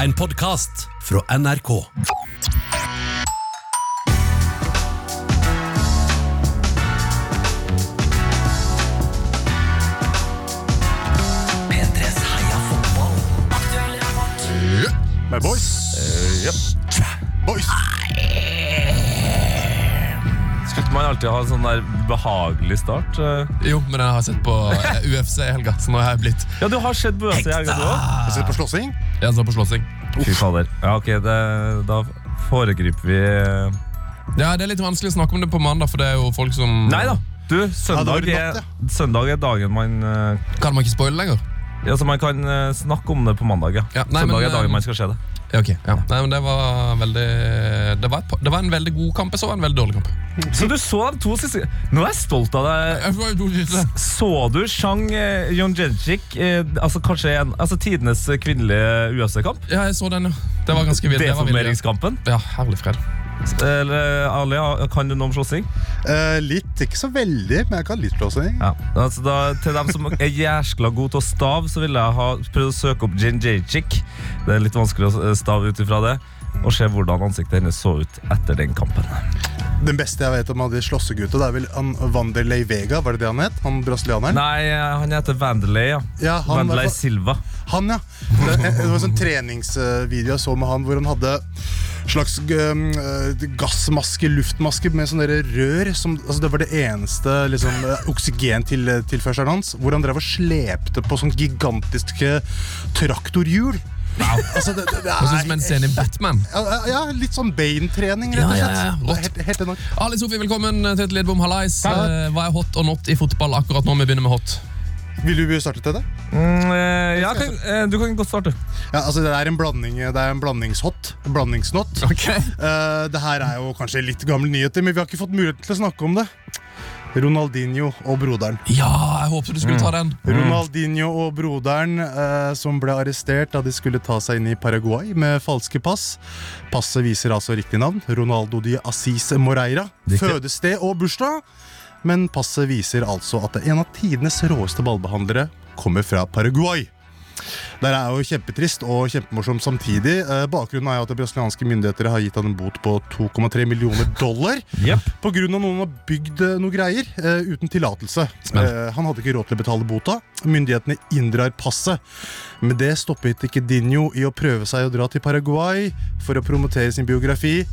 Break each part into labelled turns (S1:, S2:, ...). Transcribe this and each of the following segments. S1: En podkast fra NRK. P3s heia fotball.
S2: Med boys. Boys.
S3: Skulle ikke man alltid ha en sånn der behagelig start? eh?
S4: Jo, men jeg har sett på eh, UFC i helga, så nå har jeg blitt
S3: Ja, du har sett Bøse i helga, du òg?
S2: Jeg sitter på slåssing.
S4: Jeg så på slåssing.
S3: Fy fader. Ja, ok, det, da foregriper vi eh.
S4: Ja, Det er litt vanskelig å snakke om det på mandag, for det er jo folk som
S3: Nei da! Du, søndag,
S2: det var i
S3: er,
S2: natt,
S3: søndag er dagen man eh,
S4: Kan man ikke spoile lenger?
S3: Ja, så man kan eh, snakke om det på mandag, ja.
S4: Ja, nei,
S3: søndag
S4: men,
S3: er dagen
S4: eh,
S3: man skal se det.
S4: Ja, ok. Ja. Nei, men det var veldig det var, et, par- det var en veldig god kamp. Jeg så en veldig dårlig kamp.
S3: Så du så de to siste Nå er jeg stolt av deg.
S4: Jeg får jo to siste.
S3: Så du Chang eh, Yonjejic, eh, altså kanskje en, altså tidenes kvinnelige UFC-kamp?
S4: Ja, jeg så den, ja. Det var ganske vilt. Det var vilt,
S3: Deformeringskampen?
S4: ja. ja, herlig fred.
S3: Eller, Ali, ha- kan du noe om slåssing?
S2: Eh, litt, ikke så veldig, men jeg kan litt slåssing.
S3: Ja. Altså da, til dem som er jæskla gode til å stave, så vil jeg ha prøvd å søke opp Jin Jajcik. Det er litt vanskelig å eh, stave ut ifra det. Og se hvordan ansiktet hennes så ut etter den kampen.
S2: Den beste jeg vet om av de slåssegutta, det er vel han Wanderlei Vega, var det det han het? Han brasilianeren?
S3: Nei, eh, han heter Vandelay, ja.
S2: Ja, han,
S3: Vandelay
S2: var-
S3: Silva.
S2: han, ja. Det, det var en sånn treningsvideo jeg så med han, hvor han hadde slags um, eh, gassmaske, luftmaske, med sånne der rør. Som, altså det var det eneste liksom, eh, oksygentilførselen hans. Hvor han drev og slepte på sånn gigantiske traktorhjul. Altså, det, det, det
S4: Hva synes du om en scene i Batman?
S2: Ja, ja, ja, litt sånn beintrening, rett og
S4: Ja, ja, ja,
S2: slett. Det er
S4: rått.
S2: helt, helt enormt.
S4: Ali Sofie, velkommen til et Lidbom Hallais.
S2: Takk.
S4: Eh, Hva er hot og not i fotball akkurat nå? Vi begynner med hot.
S2: Vil du starte til det?
S3: Mm, eh, ja, kan, eh, du kan godt starte.
S2: Ja, altså Det er en blanding Det er en blandingshot. En blandingsnot.
S4: Okay.
S2: Eh, det her er jo kanskje litt gamle nyheter, men vi har ikke fått mulighet til å snakke om det. Ronaldinho og broderen.
S4: Ja, jeg håpet du skulle ta den.
S2: Ronaldinho og broderen eh, som ble arrestert da de skulle ta seg inn i Paraguay med falske pass. Passet viser altså riktig navn. Ronaldo de Assis Moreira.
S3: Riktig.
S2: Fødested og bursdag. Men passet viser altså at en av tidenes råeste ballbehandlere kommer fra Paraguay. Det er jo kjempetrist og kjempemorsomt samtidig. Eh, Bakgrunnen er jo at de brasilianske myndigheter har gitt han en bot på 2,3 millioner dollar.
S3: Jepp.
S2: På grunn av noen har bygd eh, noe greier eh, uten tillatelse.
S4: Smell.
S2: Eh, han hadde ikke råd til å betale bota. Myndighetene inndrar passet. Men det stoppet ikke Dinho i å prøve seg å dra til Paraguay for å promotere sin biografi.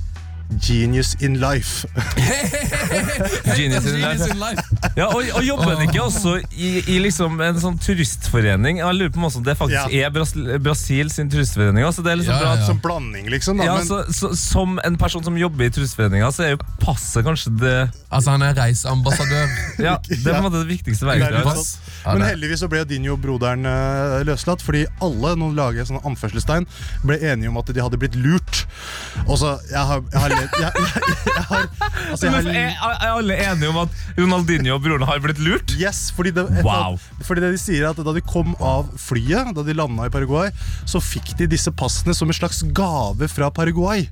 S2: Genius in life.
S3: Genius in life.
S4: Genius in life.
S3: Ja, og, og jobber den ikke også i, i liksom en sånn turistforening? Jeg lurer på om også det faktisk
S2: Ja.
S3: er Brasil, Brasil sin turistforening. også, Så det er liksom
S4: Ja,
S3: bra
S4: ja,
S3: at
S4: ja.
S2: Som blanding, liksom. Da.
S3: Ja, altså,
S2: men,
S3: så, så, Som en person som jobber i turistforeninga, så er jo passet kanskje det
S4: Altså, han er reiseambassadør.
S3: Ja, Det er på en måte det viktigste
S2: Nei,
S3: verktøyet.
S2: det er
S3: hans.
S2: sant.
S4: Ja,
S2: men
S4: det-
S2: heldigvis så ble Dinho-broderen eh, løslatt, fordi alle nå lager jeg sånne anførselstegn, ble enige om at de hadde blitt lurt. Og så, jeg har, jeg har, ledd- jeg, jeg, jeg har, altså, jeg
S3: Men eh,
S2: har
S3: Er, er alle enige om at Ronaldinho og broren har blitt lurt?
S2: Yes, fordi det, et,
S3: Wow.
S2: fordi det de sier er at Da de kom av flyet, da de landa i Paraguay, så fikk de disse passene som en slags gave fra Paraguay.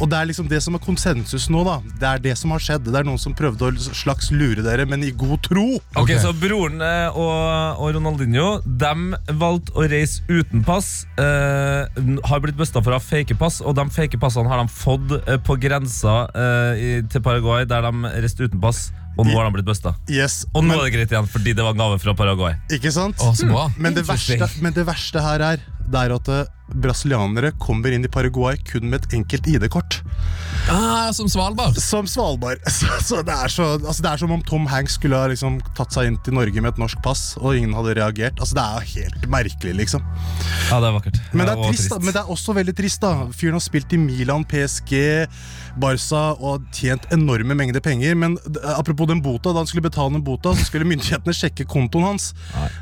S2: Og Det er liksom det som er konsensus nå. da Det er det som har skjedd. Det er noen som prøvde å slags lure dere, men i god tro.
S3: Ok,
S4: Ok.
S3: Så broren eh, og, og Ronaldinho De valgte å reise uten pass. Eh, n- har blitt busta for å ha fake pass, og de fake passene har de fått eh, på grensa eh, i, til Paraguay, der de reiste uten pass. Og nå har de blitt busta.
S2: Yes,
S3: Og nå
S2: men,
S3: er det greit igjen, fordi det var en gave fra Paraguay.
S2: ikke sant? Mm.
S4: Å, så bra.
S2: Men det,
S4: Interesting.
S2: verste, men det verste her er Det er at eh, brasilianere kommer inn i Paraguay kun med et enkelt ID-kort.
S4: Ah, som Svalbard.
S2: Som Svalbard. Så, så det, er så, altså det er som om Tom Hanks skulle ha liksom tatt seg inn til Norge med et norsk pass, og ingen hadde reagert. Altså Det er jo helt merkelig, liksom.
S3: Ja, det er vakkert.
S2: Men det,
S3: Ja,
S2: er
S3: og
S2: trist, da, men det er også veldig trist. da Fyren har spilt i Milan, PSG, Barca og har tjent enorme mengder penger. Men d- apropos den bota, da han skulle betale den bota, så skulle myndighetene sjekke kontoen hans.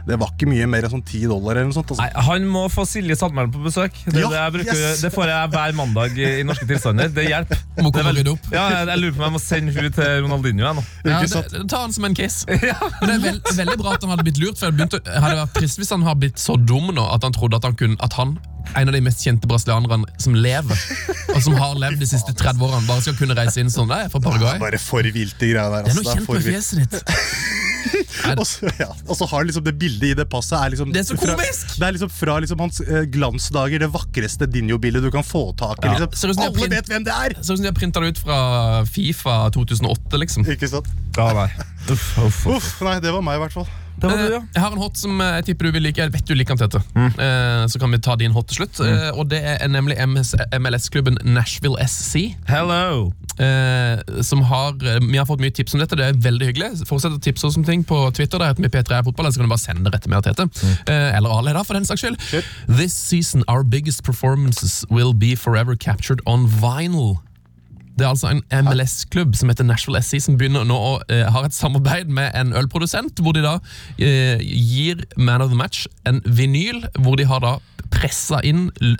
S2: Det var ikke mye mer enn sånn 10 dollar. eller noe sånt altså.
S3: Nei, Han må få Silje Sandmælen på besøk. Det, er
S2: Ja,
S3: det, jeg bruker,
S2: yes!
S3: det får jeg hver mandag i i Norske tilstander. Det hjelper.
S4: Må
S3: Det er
S4: komme og
S3: vel-
S4: rydde opp.
S3: Ja, jeg, jeg lurer på om jeg må sende hun til Ronaldinho. Jeg, nå.
S4: Ja,
S2: Ikke
S4: det,
S2: sant?
S4: ta han som en kiss. Men det er veld, veldig bra at han hadde blitt lurt. For jeg begynte, å- hadde vært trist hvis han hadde blitt så dum nå at han trodde at han kunne At han, en av de mest kjente brasilianerne som lever, og som har levd de siste 30 årene, bare skal kunne reise inn sånn. Nei, jeg er fra Paraguay.
S2: Bare for vilte greier der.
S4: Det er
S2: Altså.
S4: noe
S2: Det er
S4: kjent
S2: for
S4: med
S2: vilt.
S4: fjeset ditt.
S2: Og så, ja, og så har liksom det bildet i det passet er liksom
S4: Det er så
S2: fra-
S4: komisk!
S2: Det er liksom fra liksom hans eh, glansdager, det vakreste Dinjo-bildet du kan få tak i.
S4: Ja. Ser ut som
S2: Liksom.
S4: de har
S2: Alle
S4: print-
S2: vet hvem det er!
S4: Ser ut som de har printa det ut fra Fifa 2008, liksom.
S2: Ikke sant?
S3: Ja, nei. Uff, uff, uff.
S2: Uff, nei, det var meg i hvert fall.
S3: Det Mm. var
S4: Eh,
S3: du, ja.
S4: Jeg har en hot som eh, jeg tipper du vil like. Jeg vet du liker den, Tete. Eh, Så kan vi ta din hot til slutt.
S3: Mm.
S4: Eh, Og Det er nemlig MS MLS-klubben Nashville SC.
S3: Hello!
S4: eh, Som har eh, Vi har fått mye tips om dette. Det er veldig hyggelig. Fortsett å tipse oss om ting på Twitter. Der heter vi P3 Fotball. Eller så kan du bare sende det rett til meg og Tete. Eh, Eller Ale, da, for den saks skyld. This season our biggest performances will be forever captured on vinyl. Det er altså en MLS-klubb som heter Nashville SC, som begynner nå å eh, har et samarbeid med en ølprodusent, hvor de da eh, gir Man of the Match en vinyl, hvor de har da pressa inn l-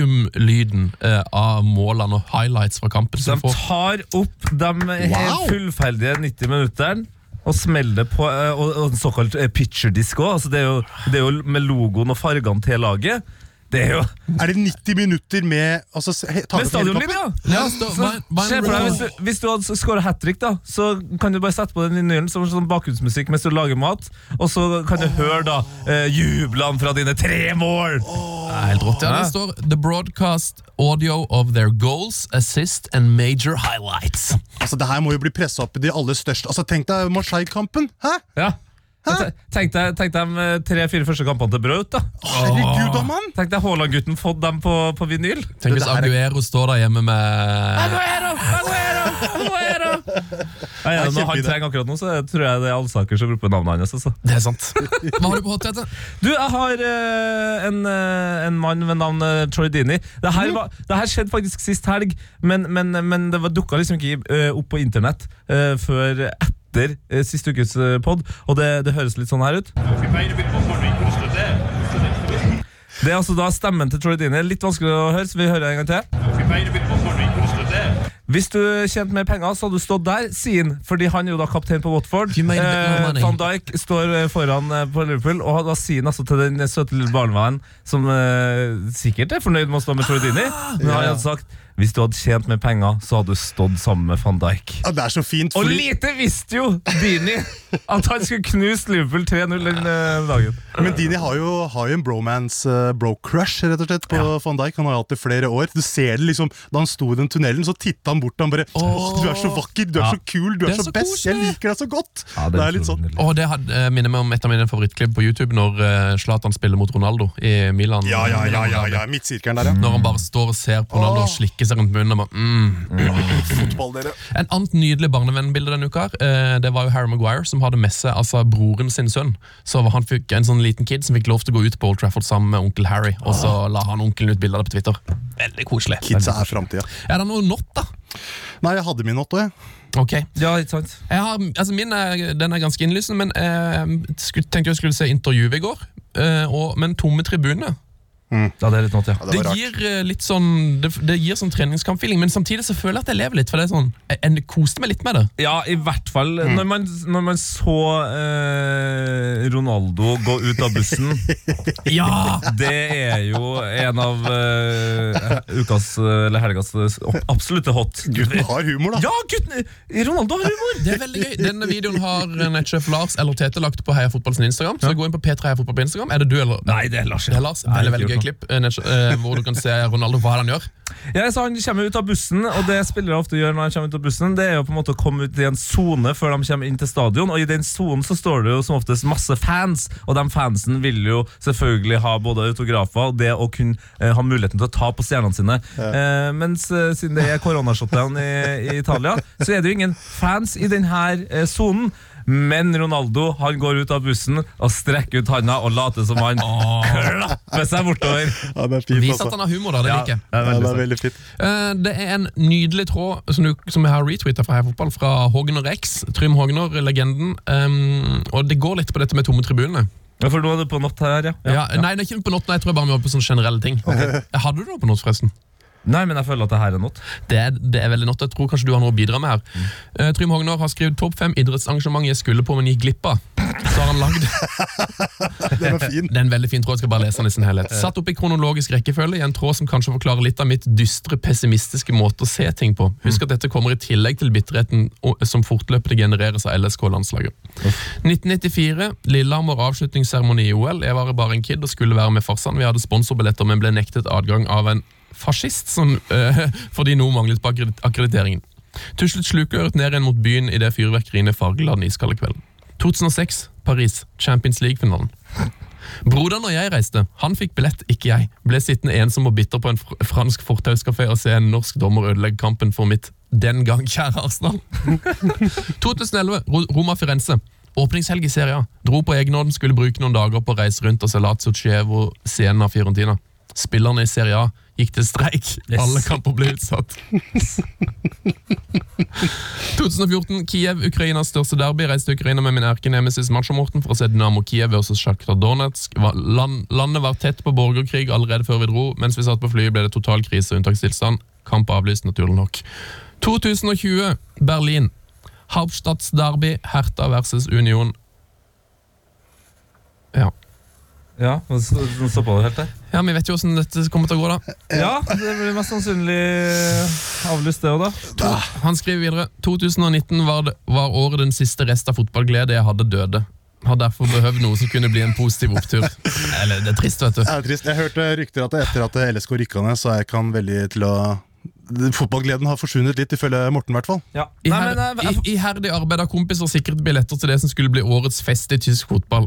S4: stadiumlyden eh, av målene og highlights fra kampen. Så
S3: De
S4: du får
S3: tar opp de helt fullferdige 90 minutterne og smeller det på eh, og, og en såkalt eh, picture disc òg. Altså det, er jo- det er jo med logoen og fargene til laget. Det er jo
S2: Er det 90 minutter med altså, se- he- ta
S3: Med
S2: med
S3: stadionliv,
S2: helikopter?
S3: ja!
S4: ja, stå,
S3: Så, se for deg, hvis,
S4: Rose.
S3: du, hvis du hadde skåra hat trick, da, så kan du bare sette på den vinylen som sånn bakgrunnsmusikk mens du lager mat, og så kan du høre da eh, jublene fra dine tre mål!
S4: Det er helt rått. Ja, det står The broadcast audio of their goals, assist and major highlights.
S2: Altså, Det her må jo bli pressa opp i de aller største Altså, Tenk deg Marseille-kampen! Hæ?
S3: Ja.
S2: Hæ?
S3: Tenk deg, tenk deg de tre-fire første kampene til Braut. da
S2: Herregud, da, mann!
S3: Tenk deg Haaland-gutten fått dem på, på vinyl.
S4: Tenk
S2: Det
S4: hvis
S2: der er-
S4: Aguero står der hjemme med
S3: Aguero! Aguero! Aguero! Nei, ja, når han
S2: kjempeidé.
S3: trenger akkurat nå, så tror jeg det er Alsaker som roper navnet hans. Altså.
S4: Det er sant. Hva har du på hot, Tete?
S3: Du, jeg har eh, en, eh, en mann ved navn eh, Troy Dini. Det her, var, det her skjedde faktisk sist helg, men, men, men det var- dukka liksom ikke eh, opp på internett eh, før etter eh, siste ukes uh, pod, og det, det høres litt sånn her ut.
S5: If we made a bit more money, we could have stood there.
S3: Det er altså da stemmen til Troy Dini. Litt vanskelig å høre, så vi hører en gang til.
S5: If we made a bit more money, we could have stood there.
S3: Hvis du tjente mer penger, så hadde du stått der, sier han. Fordi han er jo da kaptein på Watford. Eh,
S4: You made a bit more money.
S3: Van Dijk står eh, foran eh, på Liverpool, og da sier han altså til den søte lille barnevennen, som eh, sikkert er fornøyd med å stå med Tordini, men han hadde sagt hvis du hadde tjent mer penger, så hadde du stått sammen med van Dijk.
S2: Ja, det er så fint.
S3: Og
S2: Fordi,
S3: lite visste jo Dini at han skulle knuse Liverpool 3-0 den eh, dagen.
S2: men Dini har jo, har jo en bromance, eh, bro-crush, rett og slett, på van Dijk. Han har jo hatt det flere år. Du ser det liksom, Da han sto i den tunnelen, så titta han bort og han bare Åh, du er så vakker, du er så kul, du
S4: Det
S2: er,
S4: er
S2: så
S4: så
S2: best, jeg
S4: koselig!»
S2: liker deg så godt!
S3: Ja,
S2: det, er litt sånn.
S4: Og det had, eh, minner meg om et av mine favorittklipp på YouTube når eh, Zlatan spiller mot Ronaldo i Milan.
S2: Ja, ja, ja, ja, ja,
S4: Milan-
S2: midtsirkelen der, ja.
S4: Når han bare står og ser på Ronaldo og slikker seg rundt munnen. Og bare, mm.
S2: Fotball, dere.
S4: En annet nydelig barnevennbilde denne uka her, eh, Det var jo Harry Maguire som hadde med seg altså, broren sin sønn. Så var- han fikk en sånn liten kid som fikk lov til å gå ut på Old Trafford sammen med onkel Harry. Og så la han onkelen ut bilder av det på Twitter. Ah. Veldig koselig.
S2: Kidsa er framtida.
S4: Er det noe nått, da?
S2: Nei, jeg hadde min åtte, jeg.
S4: Ok.
S3: Ja, ikke sant?
S4: Jeg har, altså min er, den er ganske innlysende, men eh, sku- tenkte jeg skulle se intervjuet i går. Eh, og, men tomme tribuner.
S3: Ja, det er litt nått, ja.
S2: Ja,
S4: Det,
S2: det var rart.
S4: gir eh, litt sånn Det, det gir sånn treningskampfeeling, men samtidig så føler jeg at jeg lever litt. For det er sånn, jeg, jeg koste meg litt med det.
S3: Ja, i hvert fall. Når, man, når man så eh, Ronaldo gå ut av bussen
S4: Ja!
S3: Det er jo en av eh, ukas eh, eller helgas eh, absolutte hot.
S2: Gutten har humor, da.
S3: Ja, gutten! Ronaldo har humor!
S4: Det er veldig gøy. Denne videoen har nettsjef Lars eller Tete lagt på Heia Fotball sin Instagram. Så gå inn på P3 Heia Fotball på Instagram. Er det du eller
S3: Nei, det er Lars.
S4: Det er Lars.
S3: Nei,
S4: Veldig veldig
S3: ikke
S4: gøy
S3: gjort
S4: klipp eh, nettsjef- eh, hvor du kan se Ronaldo hva han gjør.
S3: Ja, så Han kommer ut av bussen, og det spillere ofte gjør når de kommer ut av bussen, det er jo på en måte å komme ut i en sone før de kommer inn til stadion. Og i den sonen så står det jo som oftest masse fans, og de fansen vil jo selvfølgelig ha både autografer og det å kunne eh, ha muligheten til å ta på stjernene sine. Eh, mens eh, siden det er koronashotdown i, i Italia, så er det jo ingen fans i denne sonen. Men Ronaldo han går ut av bussen og strekker ut handa og later som han klapper seg bortover.
S2: Ja, det er fint,
S4: Vis at
S2: altså.
S4: han har humor, da. Det liker jeg.
S3: det
S2: Ja,
S3: er
S2: det
S3: veldig
S2: er
S3: sant.
S2: veldig fint.
S4: Eh, Det er en nydelig tråd som, du, som jeg har retweeta fra Heia Fotball, fra Hogner X. Trym Hogner, legenden. Um, og det går litt på dette med tomme tribunene.
S3: Ja, for nå er du på natt her, ja.
S4: Ja, Nei, det er ikke på not, nei, jeg tror jeg bare vi er på sånne generelle ting. Hadde du noe på not, forresten?
S3: Nei, men jeg føler at det her er not.
S4: Det er, det er veldig nått. Jeg tror kanskje du har noe å bidra med her. Eh, Trym Hognar har skrevet topp fem idrettsarrangement jeg skulle på, men gikk glipp av. Så har han lagd
S2: Den var fin.
S4: Det er en veldig fin tråd. Jeg skal bare lese den i sin helhet. Satt opp i kronologisk rekkefølge i en tråd som kanskje forklarer litt av mitt dystre, pessimistiske måte å se ting på. Husk at dette kommer i tillegg til bitterheten o- som fortløpende genereres av LSK-landslaget. 1994, Lillehammer avslutningsseremoni i OL. Jeg var bare en kid og skulle være med farsan. Vi hadde sponsorbilletter, men ble nektet adgang av en fascist som, eh, fordi noe manglet på akkredit- akkrediteringen. Til slutt sluker øret ned igjen mot byen idet fyrverkeriene fargela den iskalde kvelden. 2006, Paris, Champions League-finalen. Broderen og jeg reiste. Han fikk billett, ikke jeg. Ble sittende ensom og bitter på en fr fransk fortauskafé og se en norsk dommer ødelegge kampen for mitt den gang kjære Arsenal. 2011, Ro- Roma Firenze. Åpningshelg i Serie A. Dro på egen hånd, skulle bruke noen dager på å reise rundt og se Lazio Chievo, scenen av Fiorentina. Spillerne i Serie A gikk til streik. Alle kamper ble utsatt. 2014, Kiev, Ukrainas største derby. Reiste til Ukraina med min erkenemesis Macho-Morten for å se Dynamo Kiev versus Sjakta Donetsk. Va- Land, landet var tett på borgerkrig allerede før vi dro. Mens vi satt på flyet, ble det total krise og unntakstilstand. Kamp avlyst, naturlig nok. 2020, Berlin. Hauptstadsderby, Hertha versus Union. Ja.
S3: Ja, men så, så stoppa det helt der.
S4: ja, vi vet jo åssen dette kommer til å gå, da.
S3: Ja, det blir mest sannsynlig avlyst, det òg, da.
S4: To, han skriver videre 2019 var, det, var året den siste rest av fotballglede jeg hadde døde. Har derfor behøvd noe som kunne bli en positiv opptur. Eller, det er trist, vet du.
S2: Det er jo trist. Jeg hørte rykter at etter at LSK rykka ned, så er ikke han veldig til å Fotballgleden har forsvunnet litt, ifølge Morten i hvert fall.
S3: Ja.
S4: I,
S3: Nei, men eh, jeg, jeg,
S4: i, Iherdig arbeid av kompiser sikret billetter til det som skulle bli årets fest i tysk fotball.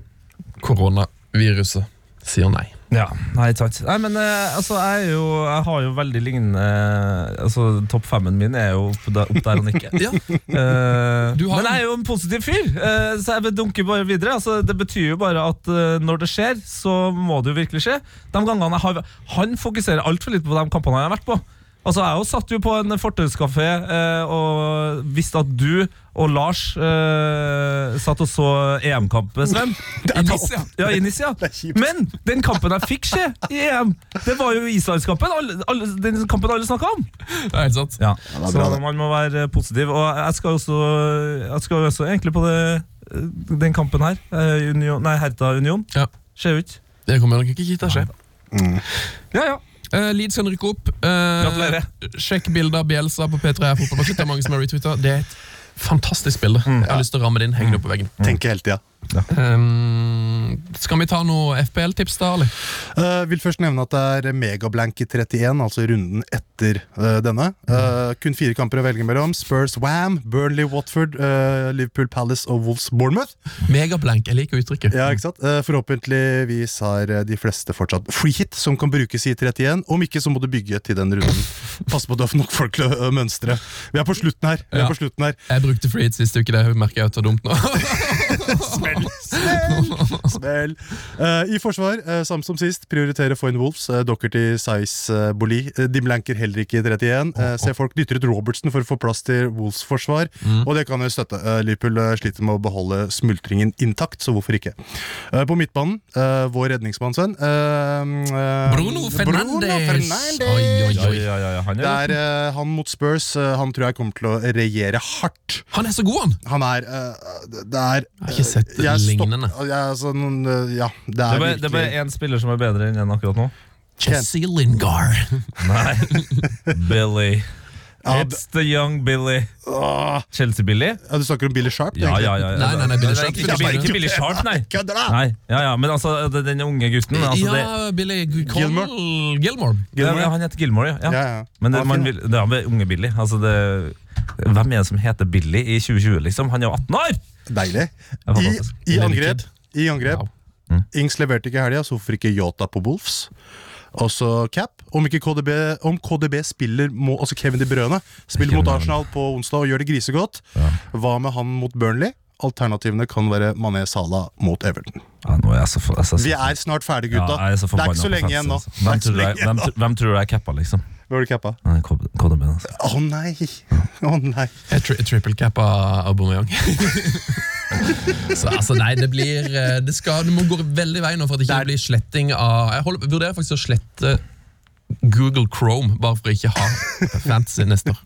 S4: Koronaviruset sier nei.
S3: Ja, nei, ikke sant. Nei, men eh, altså, jeg, er jo, jeg har jo veldig lignende eh, Altså, Topp femmen min er jo opp der, opp der og nikker.
S4: Ja,
S3: Eh,
S4: Du har
S3: men
S4: en-
S3: jeg er jo en positiv fyr, eh, så jeg dunker bare videre. Altså, det betyr jo bare at eh, når det skjer, så må det jo virkelig skje. De gangene jeg har Han fokuserer altfor litt på de kampene jeg har vært på. Altså, Jeg jo satt jo på en fortauskafé eh, og visste at du og Lars eh, satt og så EM-kampen, Sven.
S4: I Nis, ja.
S3: Ja, i Nis, ja. Men den kampen jeg fikk se i EM, det var jo Islandskampen. Alle, alle, den kampen alle snakka om.
S4: Det er helt sant.
S3: Ja,
S2: det er
S3: så
S2: bra, det.
S3: man må være positiv. Og jeg skal også, jeg skal også egentlig på det, den kampen her. eh, Union, nei, Herta Union.
S4: Ja.
S3: Ser ut.
S4: Det kommer nok ikke til å skje.
S3: Ja, ja.
S4: Eh, Leeds kan rykke opp. Eh,
S3: Gratulerer.
S4: Sjekk bildet av Bjelsa på P3 Fotballbakken. Det er mange som har retweeta. Det er et fantastisk bilde. Jeg har lyst til å ramme det inn. Henge det opp på veggen.
S2: Tenker hele tida.
S4: Ehm, skal vi ta noe FPL-tips da, Ali?
S2: Eh, vil først nevne at det er megablank i 31, altså runden etter eh, denne. Eh, kun fire kamper å velge mellom. Spurs Wam, Burnley Watford, eh, Liverpool Palace og Wolves Bournemouth.
S4: Megablank. Jeg liker uttrykket.
S2: Ja, ikke sant? Eh, forhåpentligvis har eh, de fleste fortsatt free hit som kan brukes i 31. Om ikke, så må du bygge til den runden. Pass på at du har nok folk til å eh, mønstre. Vi er på slutten her. Vi
S4: Ja.
S2: er på slutten her.
S4: Jeg brukte free hit sist uke. Det merker jeg at det er dumt nå.
S2: Vel. Eh, I forsvar, eh, samme som sist, prioritere Foyn Wolves. Eh, Doherty, Size, eh, Boli. Eh, de blanker heller ikke i 31. Eh, se folk dytter ut Robertsen for å få plass til Wolves forsvar.
S4: Mm.
S2: Og det kan jo støtte. Eh, Liverpool eh, sliter med å beholde smultringen intakt, så hvorfor ikke? Eh, på midtbanen, eh, vår redningsmann, Sven. eh, eh,
S4: Bruno Fernandes.
S2: Fernandes.
S4: Oi, oi,
S3: Ja,
S4: oi.
S3: ja, ja, ja. Han
S2: Det
S3: er
S2: er eh, han mot Spurs. eh, han tror jeg kommer til å regjere hardt.
S4: Han er så god, han!
S2: Han er eh, Det det er
S4: Jeg
S2: eh,
S4: har ikke sett
S2: jeg stopp-
S4: lignende.
S2: Jeg, er sånn, eh, ja, det
S3: det
S2: er
S3: er bare- det er
S2: virkelig
S3: bare én spiller som er bedre enn en akkurat nå.
S4: Jesse Lingard.
S3: Nei. Billy.
S2: Ja,
S3: It's the young Billy.
S2: Åh,
S3: Chelsea-Billy?
S2: ja, du snakker om Billy Sharp?
S3: Ja,
S2: egentlig?
S3: ja, ja. ja.
S4: Nei, nei, nei, Billy Sharp.
S3: Ikke, ikke, ikke Billy Sharp, nei.
S2: Kødder da!
S3: nei. Ja, ja, men altså, det- den unge gutten altså, det,
S4: Ja, Billy Cole Gilmore.
S2: Gilmore.
S3: ja, Han heter Gilmore,
S2: Ja,
S3: ja.
S2: ja.
S3: Men
S2: Han
S3: det,
S2: er
S3: man
S2: fin,
S3: vil, det er med unge Billy. Altså det, hvem er det som heter Billy i 2020, liksom? Han er jo 18 år!
S2: Deilig.
S3: Ja,
S2: I,
S3: fantastisk.
S2: i
S4: Lille
S2: angrep.
S4: kid.
S2: I angrep. Mm.
S4: Wow.
S3: Mm.
S2: Ings leverte ikke i helga, så hvorfor ikke Yota på Wolves? Også Cap. Om ikke KDB, om KDB spiller må, Altså Kevin De Brøne spiller mot
S3: Kevin
S2: Arsenal på onsdag og gjør det grisegodt, hva med han mot Burnley? Alternativene kan være Mané Sala mot Everton.
S3: Ja, nå er jeg så, for- altså, jeg er så,
S2: Vi er snart ferdige,
S3: ja,
S2: gutta.
S3: jeg er så
S2: det er ikke så
S3: forbanna på
S2: lenge igjen nå.
S3: fansen, altså.
S2: Det er ikke så
S3: Hvem tror du jeg-
S2: lenge igjen
S3: hvem
S2: nå.
S3: tr- Hvem tror du jeg cappa, liksom?
S2: Hva var det cappa?
S3: Ja, den kod- koden min, altså.
S2: Å nei! Å nei.
S4: Jeg tri triple cap av Aubameyang. så altså, nei, det blir eh, Det, skal, det må gå veldig vei nå for at det ikke blir sletting av Jeg holder, vurderer faktisk å slette Google Chrome, bare for å ikke ha fantasy neste år.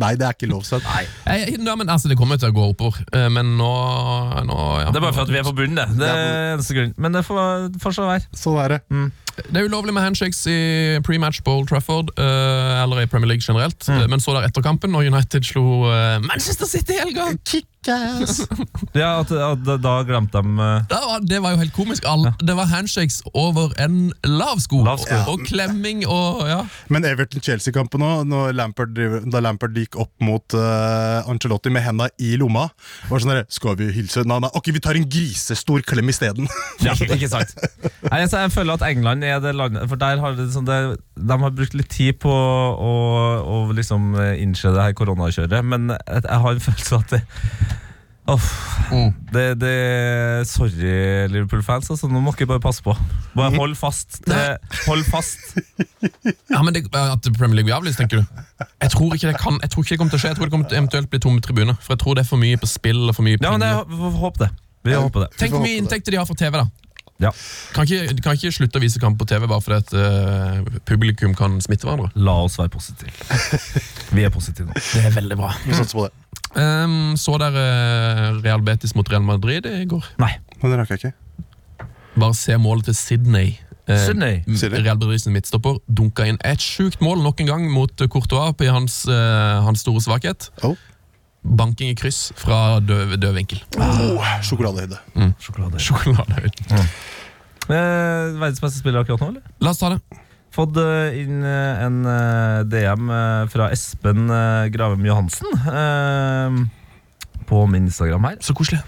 S2: Nei, det er ikke lov. Seth.
S4: Jeg, ja, men altså, Det kommer jo til å gå oppover, eh, men nå, nå ja.
S3: Det er bare for at vi er på bunnen, det. Det er eneste grunnen. Men det får, får så være.
S2: Sånn er det.
S4: Det er ulovlig med handshakes i pre-match på Old Trafford, eh, eller i Premier League generelt.
S3: Mm.
S4: Eh, Men så der etter kampen, når United slo eh, Manchester City i helga!
S3: Mm.
S2: Kickass!
S3: Ja, at, at, da glemte de eh,
S4: Det var, det var jo helt komisk. All, Det var handshakes over en lav sko.
S3: Lav sko.
S4: Og, og klemming og ja.
S2: Men Everton-Chelsea-kampen òg, når Lampard, driver- da Lampard gikk opp mot eh, Ancelotti med henda i lomma var sånn der, Skal vi hilse? Nei, nei, ok, vi tar en grisestor klem isteden.
S3: Ja, ikke sant Nei, altså, Jeg føler at England er det landet For der har det, sånn, det, de har brukt litt tid på å, å liksom eh, innse det her koronakjøret, men jeg, jeg har en følelse av at det Uff. Det, det, sorry, Liverpool-fans. Altså, nå må dere bare passe på. Bare hold fast. til- hold fast.
S4: ja men det, At Premier League blir avlyst, tenker du? Jeg tror ikke det kan, jeg tror ikke det kommer til å skje. Jeg tror det kommer til eventuelt bli tomme tribuner. For jeg tror det er for mye på spill. og for mye
S3: Ja, men
S4: penger.
S3: jeg hå- håper det. Vi håper det.
S4: Tenk hvor mye
S2: Vi får håpe det.
S4: inntekter de har fra TV, da.
S3: Ja.
S4: Kan ikke, kan ikke slutte å vise kamp på TV bare fordi at eh, publikum kan smitte hverandre.
S3: La oss være positive. Vi er positive nå.
S4: Det er veldig bra.
S2: Vi satser på det.
S4: Ehm, så dere eh, Real Betis mot Real Madrid i går?
S3: Nei.
S2: Men det rakk jeg ikke.
S4: Bare se målet til Sydney. Eh,
S3: Sydney.
S4: m-
S2: Sydney.
S4: Real Madrid sin midtstopper dunka inn et sjukt mål nok en gang mot eh, Courtois på hans, eh, hans store svakhet.
S2: Oh.
S4: Banking i kryss fra død, død vinkel.
S2: Oh, sjokoladehøyde.
S3: Sjokolade.
S4: Sjokoladehøyden.
S3: Eh, verdens beste spiller akkurat nå, eller?
S4: La oss ta det.
S3: Fått eh, inn eh, en eh, DM eh, fra Espen eh, Gravem Johansen eh, på min Instagram her.
S4: Så koselig.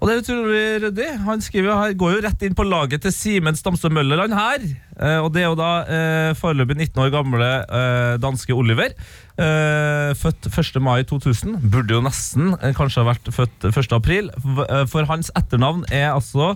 S3: Og det er utrolig ryddig. Han skriver jo her, går jo rett inn på laget til Simen Stamstø Møllerland her. Eh, og det er jo da eh, foreløpig 19 år gamle eh, danske Oliver. Eh, født 1. mai 2000. Burde jo nesten eh, kanskje ha vært født 1. april. V- eh, For hans etternavn er altså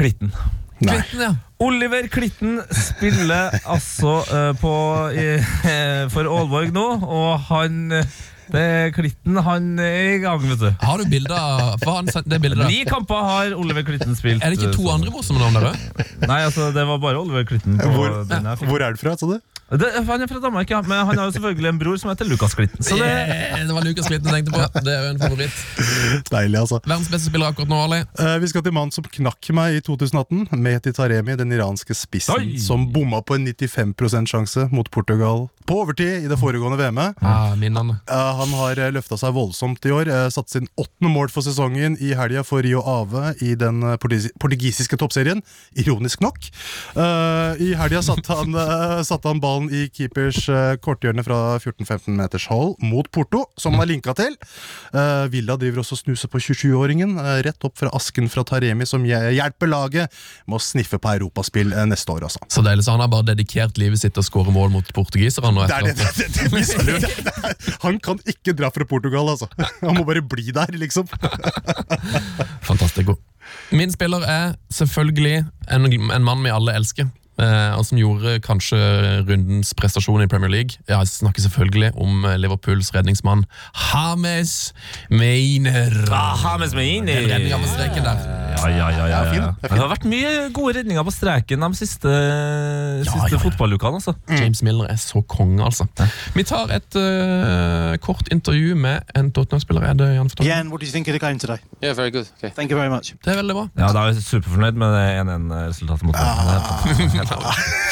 S3: Klitten.
S2: Nei.
S4: Clinton, ja.
S3: Oliver Klitten spiller altså eh, på, i- eh, for Aalborg nå, og han eh, det er Klitten han er i gang, vet du.
S4: Har du bilder av hva har han sendt- det bildet?
S3: Ni
S4: der?
S3: kamper har Oliver Klitten spilt.
S4: Er det ikke to
S3: eh,
S4: andre morsomme navn der òg?
S3: så- Nei, altså, det var bare Oliver Klitten. På
S2: Hvor,
S3: den jeg fikk.
S2: hvor er du fra, sa du?
S3: det, han er fra Danmark, ja, men han har jo selvfølgelig en bror som heter Lukas Klitten. Så det,
S4: Yeah, det var Lucas Clinton jeg tenkte på. Det er jo en favoritt.
S2: Deilig, altså.
S4: Verdens beste spiller akkurat nå, Ali.
S2: Eh, vi skal til mannen som knakk meg i 2018. Mehdi Taremi, den iranske spissen
S3: Oi!
S2: som bomma på en 95 sjanse mot Portugal på overtid i det foregående VM-et.
S4: Ah, Minnene.
S2: Eh, han har løfta seg voldsomt i år. eh, satt sin åttende mål for sesongen i helga for Rio Ave i den eh, portugis- portugisiske toppserien. Ironisk nok. Eh, I helga satte han, eh, satte han ballen i keepers eh, korthjørne fra 14-15 meters hold mot Porto, som han er linka til. Eh, Villa driver også og snuser på 27-åringen, eh, rett opp fra asken fra Taremi, som hje- hjelper laget med å sniffe på europaspill eh, neste år, altså.
S4: Så deilig, så Han har bare dedikert livet sitt til å skåre mål mot portugiserne. nå
S2: Det er
S4: etter
S2: det, det, det, det, det, det, det, han kan ikke dra fra Portugal, altså. Han må bare bli der, liksom.
S4: at- Fantastico. Min spiller er selvfølgelig en, en mann vi alle elsker. eh, Og som gjorde kanskje rundens prestasjon i Premier League. Ja, jeg snakker selvfølgelig om eh, Liverpools redningsmann Hames Meiner.
S3: Aha, men som er inn i-
S4: Redninga på streken der.
S3: Ja, ja, ja, ja,
S2: fin,
S3: ja.
S2: den er
S3: Det har vært mye gode redninger på streken de siste, siste
S4: ja, ja.
S3: fotballukene. altså.
S4: James Milner er så konge, altså. Vi tar et eh, kort intervju med en Tottenham-spiller. Er det Jan Fortell?
S6: Jan, what do you think of the game today?
S7: Yeah, very good. Okay.
S6: Thank you very much.
S4: Det er veldig bra.
S3: Ja, Da er jeg superfornøyd med det 1-1-resultatet mot
S4: Ah.
S3: Tottenham.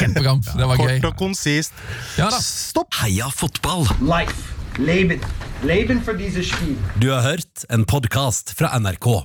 S4: Kjempekamp. Det var gøy.
S2: Kort og konsist.
S4: Ja da.
S2: Stopp!
S1: Heia fotball!
S8: Life. Leben. Leben für dieses Spiel.
S1: Du har hørt en podcast fra NRK.